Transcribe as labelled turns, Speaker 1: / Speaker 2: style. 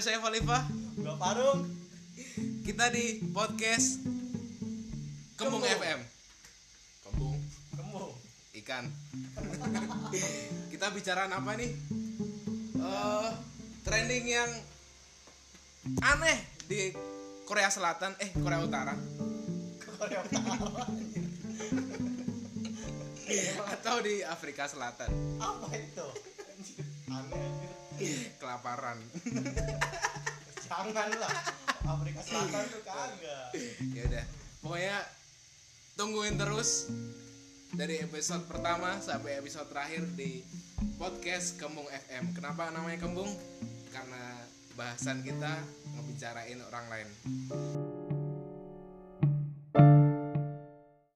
Speaker 1: saya Falifa.
Speaker 2: Gak parung.
Speaker 1: Kita di podcast Kembung
Speaker 2: Kembung.
Speaker 1: FM. Kembung
Speaker 2: Kamu.
Speaker 1: ikan. Kita bicaraan apa nih? Eh trending yang aneh di Korea Selatan, eh Korea Utara
Speaker 2: Korea apa? anjir?
Speaker 1: atau di Afrika Selatan.
Speaker 2: Apa itu? Anjir, Aneh anjir.
Speaker 1: Kelaparan.
Speaker 2: Jangan lah. Afrika Selatan tuh kagak.
Speaker 1: ya udah. Pokoknya tungguin terus dari episode pertama sampai episode terakhir di podcast Kembung FM. Kenapa namanya Kembung? Karena bahasan kita ngebicarain orang lain.